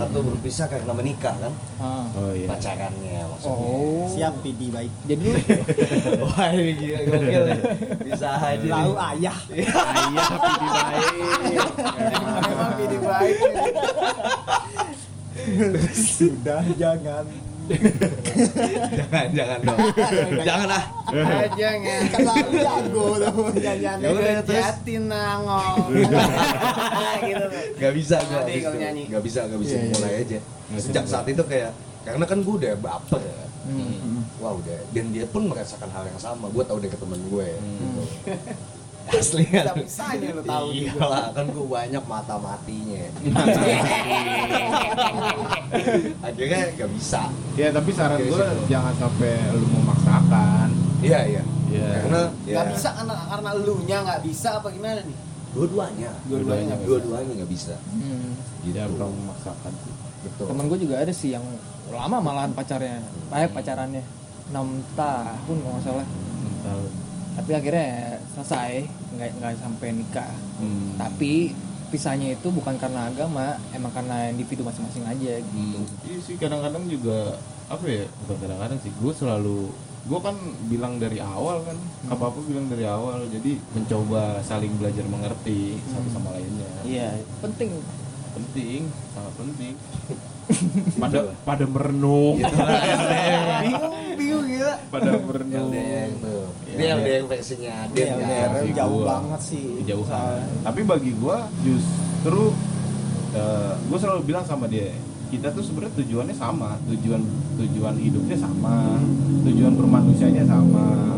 atau berpisah karena menikah kan
Ah.
Oh iya.
pacarannya maksudnya
Oh.
Siap, PD baik.
Jadi lu
wah ini gila gokil ya. bisa aja Iya.
Tahu ayah.
Ayah pilih baik.
Memang pilih baik.
Sudah jangan
jangan jangan dong jangan ah
jangan
Kenapa jago tuh nyanyian
Ya udah, terus.
jati nangong gitu loh.
nggak bisa gue
Nanti kalau nyanyi.
nggak bisa nggak bisa
Iya, iya.
mulai aja sejak saat itu kayak karena kan gue udah baper ya kan.
Hmm,
wah udah dan dia pun merasakan hal yang sama gue tau dari temen gue
Hmm.
gitu. asli kan
Bisa-bisanya lu tahu
iya
juga.
lah kan gue banyak mata matinya akhirnya nggak bisa
Ya tapi saran
Oke,
gue
situ.
jangan sampai lu memaksakan.
iya iya
Iya.
karena ya,
Gak bisa karena karena elunya nggak bisa apa gimana nih?
dua-duanya
Dua-duanya nggak bisa.
dua-duanya nggak bisa
Iya,
gitu
Jangan kamu memaksakan.
betul
Hmm. Temen gue juga ada sih yang lama malahan pacarnya, eh pacarannya 6 tahun kalau nggak salah.
Hmm. Tahun.
Tapi akhirnya ya selesai, nggak nggak sampai nikah.
Hmm.
Tapi pisahnya itu bukan karena agama, emang karena individu masing-masing aja. gitu.
Hmm.
Iya sih kadang-kadang juga apa ya bukan kadang-kadang sih gue selalu gue kan bilang dari awal kan apa apa bilang dari awal jadi mencoba saling belajar mengerti satu sama lainnya
Iya, penting.
penting sangat penting pada pada merenung
Bingung gila.
Iya. pada merenung
LDR tuh
Iya,
ini
iya.
LDR versinya Aden
Iya,
kan?
LDR.
Versi
Jauh
gua.
banget sih.
jauhan Ah, tapi bagi gue justru gue selalu bilang sama dia kita tuh sebenarnya tujuannya sama tujuan tujuan hidupnya sama tujuan bermanusianya sama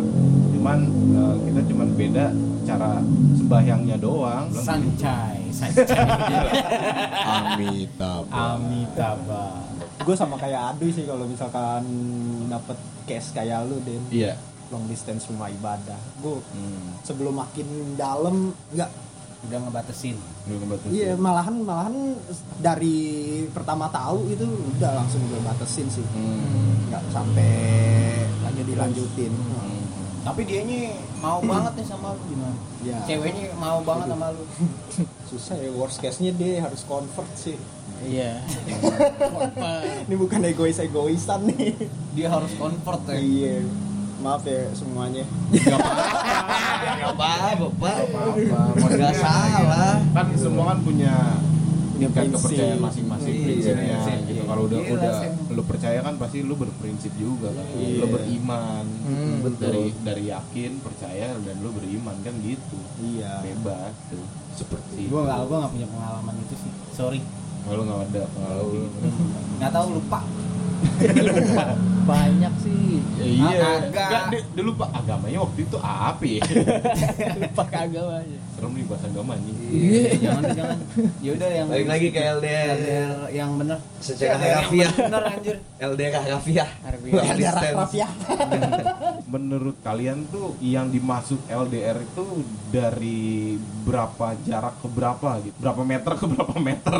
cuman eh, kita cuman beda cara sembahyangnya doang
Sancai, sancai.
Amitabha
Amitabha.
Gue sama kayak Adu sih kalau misalkan dapet case kayak lu Den
iya
long distance rumah ibadah. Gue
Hmm,
sebelum makin dalam nggak
Udah ngebatesin.
belum kebetulan.
iya malahan malahan dari pertama tahu itu udah langsung gue batasin sih.
Hmm.
Nggak sampai lanjut dilanjutin.
Tapi dianya mau banget nih sama lu gimana?
Ya.
Ceweknya mau banget sama lu.
Susah ya worst case-nya dia harus convert sih.
Iya.
Ini bukan egois-egoisan nih.
Dia harus convert ya.
Iya. Maaf ya semuanya.
Gak apa-apa, Bapak.
apa-apa.
Gak salah.
kan semua kan punya
Punya
tingkat
prinsip.
kepercayaan masing-masing
Iya,
prinsipnya
prinsip.
gitu kalau udah
Gila,
udah
Sam.
lu percaya kan pasti lu berprinsip juga kan lu beriman
Hmm,
betul.
dari dari yakin percaya dan lu beriman kan gitu
Iya.
bebas tuh seperti
Gue gak, gua nggak punya pengalaman itu sih. Sorry.
kalau nggak ada kalau
Gak tahu lupa.
Banyak sih.
Ya, iya
Ah, agak.
Nggak, dia, dia lupa agamanya waktu itu apa ya
Lupa ke agama aja.
serem nih bahasa agama nih
Iya, jangan jangan. Ya udah yang
Balik lagi ke LDR.
LDR yang bener.
Secara
LDR yang
harafiah.
Bener anjir.
LDR Rafiah.
Harfiah.
Ada rakyat ya.
menurut kalian tuh yang dimaksud LDR itu dari berapa jarak ke berapa gitu berapa meter ke berapa meter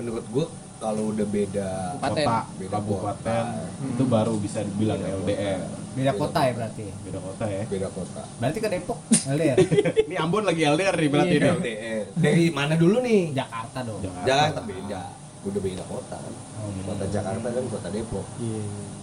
Menurut gue kalau udah beda
Kabupaten. Hmm.
kota
Beda
kabupaten
kota.
itu baru bisa dibilang LDR
Beda kota ya berarti.
beda kota ya
beda kota.
Berarti ke Depok LDR.
ini Ambon lagi LDR nih berarti
Iya.
nih.
LDR. Dari mana dulu nih?
Jakarta dong.
Jakarta.
Jakarta beda. Udah beda kota kan. Kota Jakarta kan kota Depok.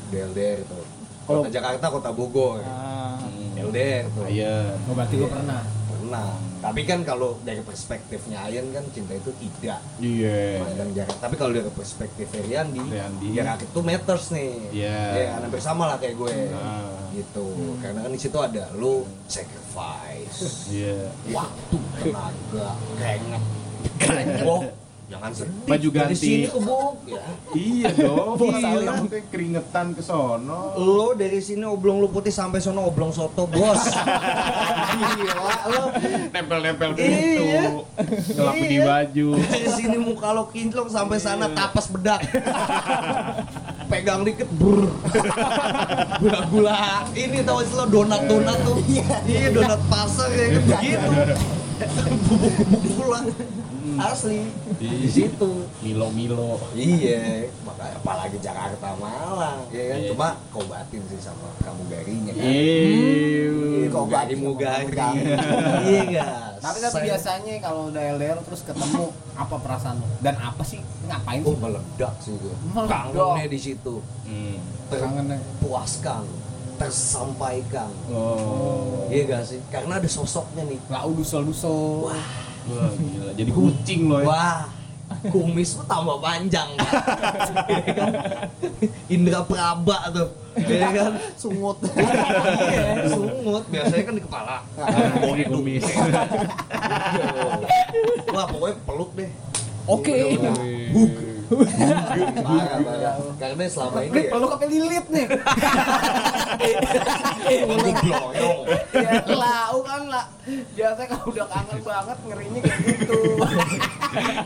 Udah LDR tuh.
Kalau-
Kota Jakarta kota Bogor.
Ah,
LDR tuh.
Hmm. Iya.
Oh, berarti gue pernah.
Pernah. Tapi kan kalau dari perspektifnya Ayan kan cinta itu tidak
Iya.
Pandang jarak. Tapi kalau dari perspektif Heriandi,
Heriandi.
jarak itu matters nih.
Iya.
Ya kan? hampir sama lah kayak gue.
Nah,
Gitu. Karena kan di situ ada lu sacrifice
Iya.
waktu, tenaga, keringat, keringat. Jangan sedih.
Baju
Dari
ganti.
sini ke Bogor, ya.
Iya dong. Iya, maksudnya keringetan ke sono.
Lo dari sini oblong lu putih sampai sono oblong soto, Bos. Gila lo.
Nempel-nempel
Iya.
gitu. Gelap di
Iya.
baju.
Dari sini muka lo kinclong sampai sana tapas bedak. Pegang dikit brr. Gula-gula. Ini tahu istilah donat-donat tuh. Iya, donat pasar ya begitu. Bubuk-bubuk lah. Asli. Di situ.
Milo-milo.
Iya, makanya apalagi Jakarta Malang, ya kan?
Iya.
Cuma kobatin sih sama kamu garinya kan.
Iya.
Kamu gari
Kobatin sama
mugari.
Kamugari.
Iya enggak?
Tapi
kan
tapi biasanya kalau udah LDR terus ketemu apa perasaan lo? Dan apa sih ngapain
oh
sih?
meledak sih gue.
Meledak.
Kangennya di situ.
Hmm.
Kangennya.
Terpuaskan, tersampaikan.
Oh.
Iya gak sih? Karena ada sosoknya nih.
Lau dusel dusel.
Wah,
Wah, gila. Jadi kucing loh ya.
wah. kumis lu tambah panjang Pak. Ya kan? Indra Praba tuh ya kan
sungut
Iya, sungut biasanya kan di kepala
Bogi kumis.
wah pokoknya peluk deh
Oke.
parah parah karena selama ini ya
Perlu kape lilit nih.
gue bloyong
ya lau kan lah biasanya kalau udah kangen banget ngerinya kayak gitu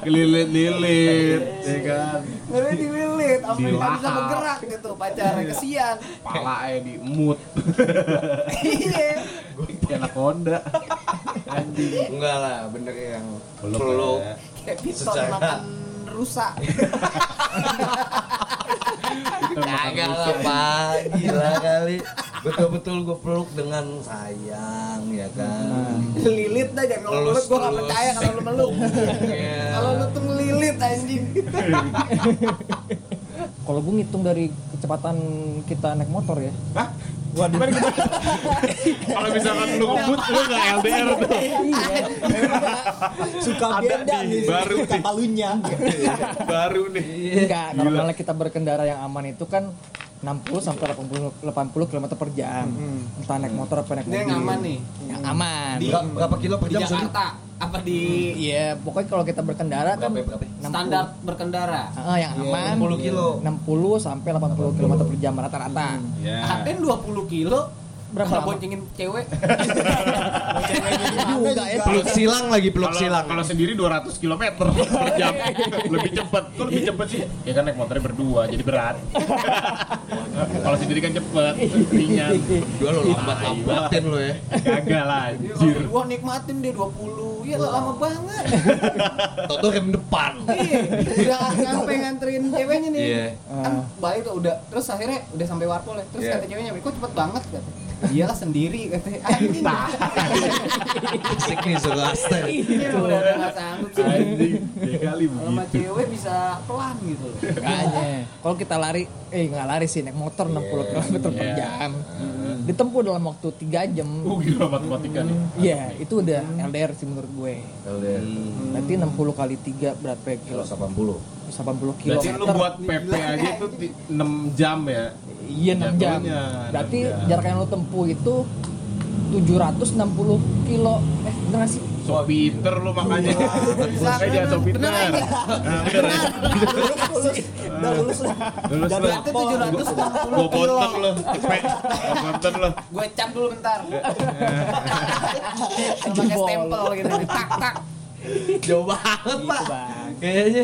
Kelilit-lilit, ya kan.
ngeri dililit apa nggak bisa
Dilahap.
bergerak gitu pacarnya kesian
Pala ya di mood.
iya
Enak Honda.
enggak lah bener yang
Peluk
peluk
ya.
kayak piton
Secara-
makan rusak
Kagak lah Pak, gila kali Betul-betul gue peluk dengan sayang ya kan
lilit dah jangan kalau mulut gue gak
Telus-telus.
percaya kalau lu meluk
Iya.
kalau lu tuh ngelilit anjing
Kalau gue ngitung dari kecepatan kita naik motor ya.
Kalau misalkan lu ngebut lu enggak LDR tuh.
suka beda nih
baru nih.
kata lunya
Baru nih.
Enggak, normalnya kita berkendara yang aman itu kan 60 sampai 80 80 km per jam. Entah naik motor apa naik mobil.
Ini Mm-hmm. yang aman nih.
Yang aman.
Berapa, berapa kilo per
di
jam sorry?
Jakarta apa di
Iya, pokoknya kalau kita berkendara kan
Berapa ya, berapa ya?
60.
standar Iya, berkendara
Ah, yang aman
60 kilo
60 sampai 80 km per jam rata-rata.
Mm.
Ya.
Aden 20 kilo
Berapa
Berapa
lama?
boncengin cewek? Iya,
Juga ya.
Peluk silang lagi, peluk
Kalau
silang
kalau sendiri 200 km per jam. Lebih cepat. Kok lebih cepat sih? Ya kan naik motornya berdua jadi berat. Kalau sendiri kan cepet, ringan.
Dua lo lambat-lambatin lo ya
Kagak lah anjir.
Gua nikmatin dia 20. Ya lama banget.
Toto rem depan
Iya. Udah nyampe nganterin ceweknya nih.
Iya.
Kan balik tuh udah terus akhirnya udah sampai warpol ya. Terus
Iya.
kata ceweknya, "Kok cepet banget?" kata. Iyalah sendiri katanya. Anjing.
Iya. Asik nih suruh aster
Iya, udah udah nggak sanggup sih.
Anjing, ya kali
Kalau sama
begitu.
cewek bisa pelan gitu loh.
Makanya, kalau kita lari, eh nggak lari sih, naik motor 60 km per
Iya.
jam.
Mm-hmm.
Ditempuh dalam waktu 3 jam.
Uh.
Oh gila matematika nih.
Iya, itu udah
Mm.
LDR sih menurut gue.
Hmm.
Berarti 60 kali 3 berapa ya kilo?
80
80 kilo.
Berarti lu buat PP aja itu ti- 6 jam ya.
Iya 6 jam.
Jatuhnya enam
Berarti
jam.
jarak yang lo tempuh itu 760 kilo. Eh, bener nggak sih?
So pinter lu makanya. Makanya jangan so pinter.
Bener aja.
Nah, bener aja.
udah lulus lah
Lulus
Udah
lu.
Berarti 760
Gua
kilo.
konten lu. Cepet. Gua konten lu.
Gue cap dulu bentar. Sama Pakai stempel gitu. Tak tak.
Jauh banget pak
Bang.
Gitu, Kayaknya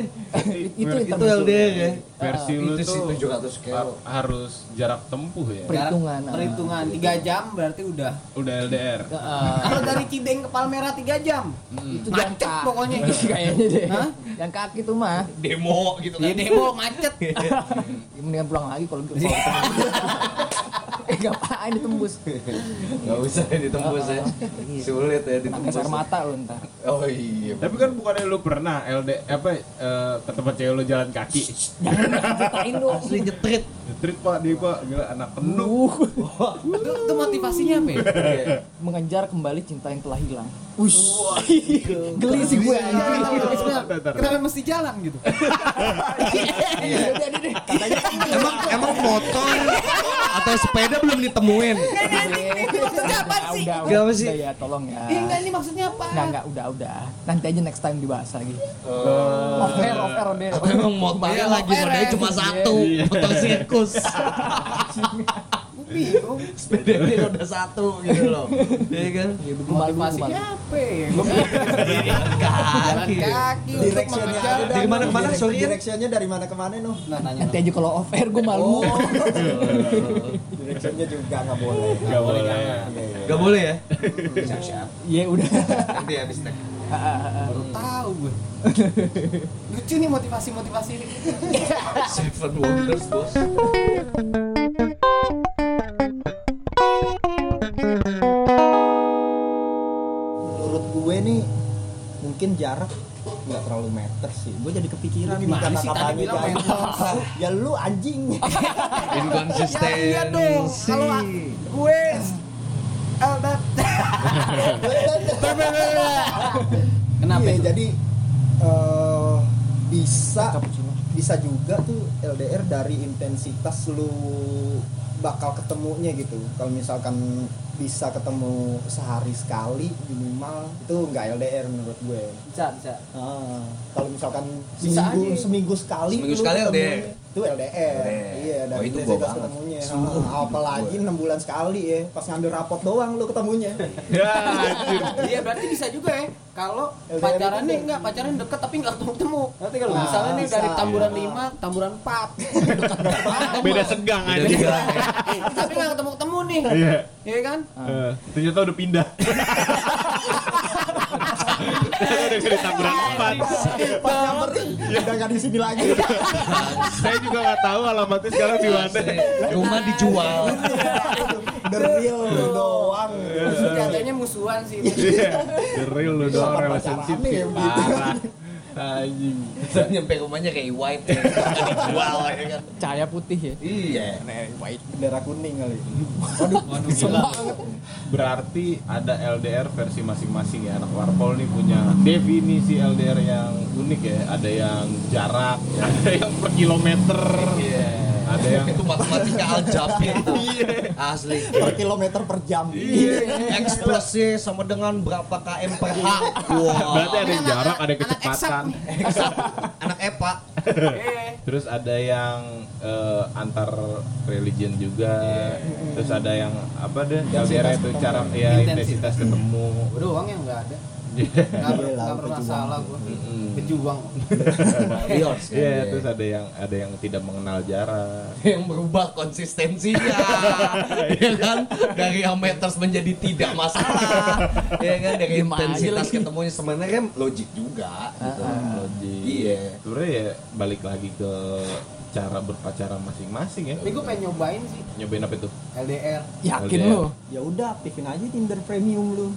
Itu
Itu LDR ya
Versi lu
Itu sih
tuh
700 kilo
har- harus jarak tempuh ya.
Perhitungan, ah.
Perhitungan 3 jam berarti udah.
Udah LDR.
Kalau dari Cideng ke Palmera 3 jam.
Itu
Macet
jangka.
pokoknya.
Kayaknya deh.
Hah?
Yang kaki tuh mah.
Demo gitu
Ya
kan
demo macet.
Ya, mendingan pulang lagi kalau gitu. eh, ngapain ditembus?
Gak usah ditembus ya
Iya.
Sulit ya ditembus
Nangkas air mata lo ntar.
Oh iya
Tapi kan bukannya lu pernah LD apa
e,
eh, ke tempat cewek lu jalan kaki.
Ceritain dong.
Asli nyetrit
Street Pak, dia Pak gila anak penuh.
Uh,
Itu, itu motivasinya apa ya?
mengejar kembali cinta yang telah hilang. Ush. Geli sih gue. anjing.
Kenapa- kenapa- Kenapa mesti jalan gitu?
Iya,
Emang emang motor atau sepeda belum ditemuin?
Ini maksudnya apa sih?
Iya. Udah,
Gak
udah,
apa
udah,
sih?
ya tolong ya.
Ya enggak ini maksudnya apa?
Nggak, nggak, udah, udah. Nanti aja next time dibahas lagi.
Oh.
off air, off air, off air.
Emang motornya
Iya,
lagi
motornya.
modelnya cuma satu,
iya.
motor sirkus.
Gua bingung.
Sepedanya roda satu gitu loh. Iya kan?
Gua malu, gua malu.
Motivasinya apa ya? Gua jalan kaki untuk
direksinya
mengejar.
ada,
Dari mana ke mana,
direk-
sorry ya?
direksinya dari mana ke mana noh
Nah, tanya
Nanti aja kalau off air gue malu.
Oh.
direksinya juga nggak boleh
Gak boleh.
Gak boleh ya?
Iya udah.
Nanti habis tek.
baru tahu gue. Lucu nih motivasi-motivasi ini.
Seven Wonders bos.
menurut gue nih mungkin jarak nggak terlalu meter sih gue jadi kepikiran nih
Gimana sih? Tadi
kata-katanya
bilang
Jack. ya lu anjing
Ya iya dong.
Inkonsistensi.
Kalau a- gue Eldat. Kenapa?
Iya,
itu?
jadi eh bisa bisa juga tuh LDR dari intensitas lu bakal ketemunya gitu kalau misalkan bisa ketemu sehari sekali minimal itu nggak LDR menurut gue
bisa bisa
Ah, kalau misalkan
Bisa
seminggu
aja.
seminggu sekali
Seminggu
lu
sekali
ketemunya,
LDR.
itu LDR
LDR.
iya
Wah,
dari
Oh, itu gua
intensitas
banget.
ketemunya
Sungguh,
Ah, apalagi
gua.
enam bulan sekali ya pas ngambil rapot doang lu ketemunya
iya berarti bisa juga ya kalau
LDR
pacarannya
itu.
enggak pacaran deket tapi enggak ketemu ketemu nanti kalau
Ah,
misalnya nih
bisa.
dari tamburan 5 tamburan 4
Beda segang
Udah
aja.
tiga.
tapi enggak ketemu ketemu nih
Uh.
Iya.
iya kan
Ah.
Eh, ternyata udah pindah. Saya udah dari Tangerang empat.
pas nyamperin udah nggak di sini lagi
Iya.
Saya juga nggak tahu alamatnya sekarang di mana.
Iya. Rumah dijual.
the real doang
Iya.
sejatinya musuhan sih
Iya. The real lu doang
Sama
relationship
pacaran nih,
sih.
yang gitu.
Parah.
anjing
Terus nyampe rumahnya kayak white ya. Dijual ya kan.
Cahaya putih ya.
Iya.
bendera kuning kali
berarti ada LDR versi masing-masing ya anak warpol nih punya definisi LDR yang unik ya ada yang jarak ada yang per kilometer
Iya.
ada yang
Itu matematika aljabnya itu. Asli.
per kilometer per jam
X plusnya sama dengan berapa km per H.
Berarti
Wah.
ada yang jarak, ada yang
anak
kecepatan.
Anak E EPA.
eh
terus ada yang eh, antar religion juga terus ada yang apa deh LDR itu cara ya intensitas ketemu
gue doang yang enggak ada
Iya,
enggak ber-
lah,
enggak pernah
pejuang.
salah gue
Mm-mm.
pejuang
Bios.
Iya, terus ada yang ada yang tidak mengenal jarak.
yang merubah konsistensinya ya kan dari yang meters menjadi tidak masalah ya kan dari
Diem aja
intensitas
lagi.
ketemunya sebenarnya kan logik juga gitu.
Logik.
Iya.
Sebenarnya ya balik lagi ke cara berpacaran masing-masing ya.
tapi gue pengen nyobain sih
Nyobain apa itu?
LDR
Yakin
LDR.
lo?
ya udah aktifin aja Tinder premium lu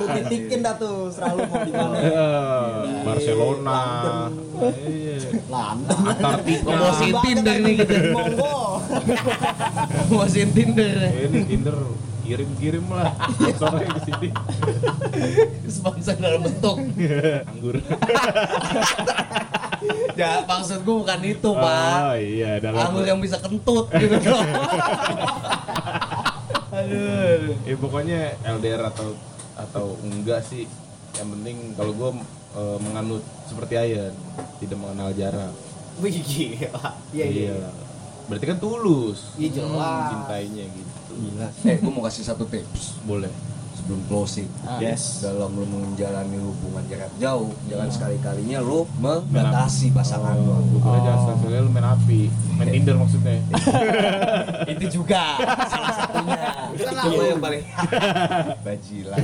lu titikin dah tuh selalu mau di mana
Eh, Barcelona.
London.
Iya.
lantang
Antartika.
Promosi Tinder nih gitu.
monggo
Promosin Tinder
Ini Tinder kirim-kirim lah sore ke sini.
sponsor dalam bentuk.
Anggur.
Ya maksud gue bukan itu,
Ah,
Oh
Pak.
iya, dalam
Anggur yang bisa kentut gitu loh.
Aduh. Ya pokoknya LDR atau atau enggak sih yang penting kalau gue menganut seperti Ayan tidak mengenal jarak.
wih gila iya iya
Berarti kan tulus.
Hmm,
Iya, jelas.
Cintainya gitu.
eh, gue mau kasih satu tips
Boleh.
sebelum closing.
yes
dalam lu menjalani hubungan jarak jauh jangan sekali-kalinya lu membatasi pasangan
Oh,
lu
gue kira jangan sekali-sekali lu main api, main Tinder maksudnya.
itu juga salah satunya itu kan
Itu
yang paling bajilah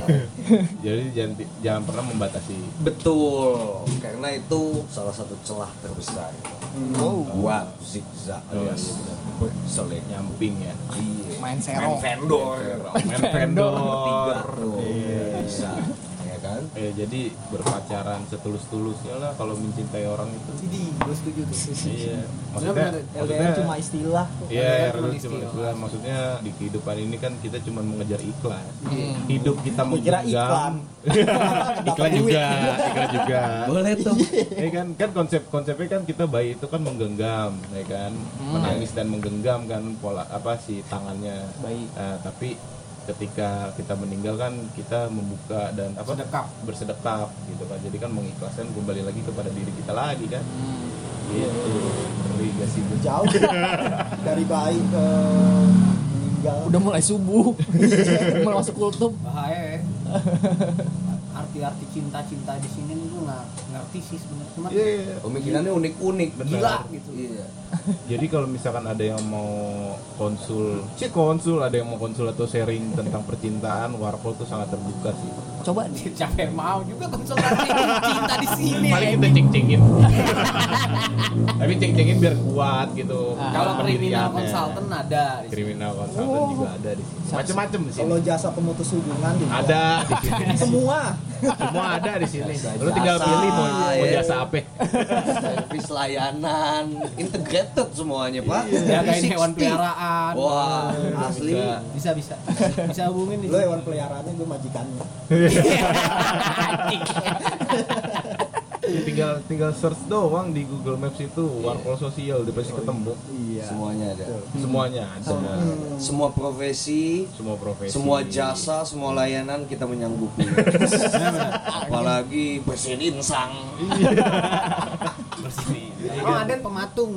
Jadi jangan jangan pernah membatasi.
betul karena itu salah satu celah terbesar buat zigzag alias berselek
Nyamping ya.
iya
Main
main
serong.
vendor
Main
tiga
vendor.
tuh bisa ya kan
Ya, jadi berpacaran setulus-tulusnya lah kalau mencintai orang itu.
jadi gue setuju tuh
Iya. Maksudnya,
bener,
maksudnya
LDR cuma istilah kok.
Iya,
LDR cuma
RL cuma
istilah.
istilah. Maksudnya di kehidupan ini kan kita cuma mengejar iklan. Hidup kita
Gua kira iklan
menggenggam.
Dapat
iklan
duit.
juga, iklan juga.
boleh tuh
ya kan kan konsep konsepnya kan kita bayi itu kan menggenggam ya kan menangis dan menggenggam kan pola apa sih tangannya
Bayi.
Nah, tapi ketika kita meninggal kan kita membuka dan apa
Sedekap.
bersedekap gitu kan jadi kan mengikhlaskan kembali lagi kepada diri kita lagi kan gitu ngeri gak sih Bu?
jauh dari bayi ke meninggal
Udah mulai subuh. mulai masuk kultum.
bahaya ya. arti-arti cinta-cinta di sini gue nggak ngerti sih sebenarnya cuma
Iya.
pemikirannya unik-unik
Benar.
gila gitu
iya
jadi kalau misalkan ada yang mau konsul sih konsul ada yang mau konsul atau sharing tentang percintaan warpol tuh sangat terbuka sih
Coba di
siapa yang mau juga konsultasi cinta di sini
paling kita ceng-cengin tapi ceng-cengin biar kuat gitu
Ah, kalau kriminal
Pendiriannya.
konsultan ada di sini.
kriminal konsultan juga ada di sini macam-macam Oh. di sini
kalau jasa pemutus hubungan di
ada di sini
semua
semua ada di sini lu tinggal pilih mau mau
Ah,
Iya.
jasa apa
servis layanan integrated semuanya pak
Iya. jagain
360.
hewan peliharaan Iya.
wah asli
bisa bisa bisa hubungin di
lu hewan peliharaannya gue majikannya
tinggal tinggal tinggal search doang di Google Maps itu warpol sosial dia pasti ketemu
Iya.
Semuanya ada.
semuanya ada
Hmm.
Semua profesi,
semua profesi
semua jasa, semua layanan kita menyanggupi. Apalagi bersihin insang.
Oh,
iya.
Aden pematung.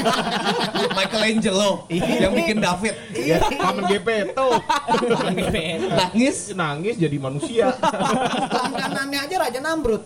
Michelangelo yang bikin David.
Iya, Paman Gepeto
Iya.
Nangis.
nangis jadi manusia
kan Tangan kanannya aja Raja Namrud.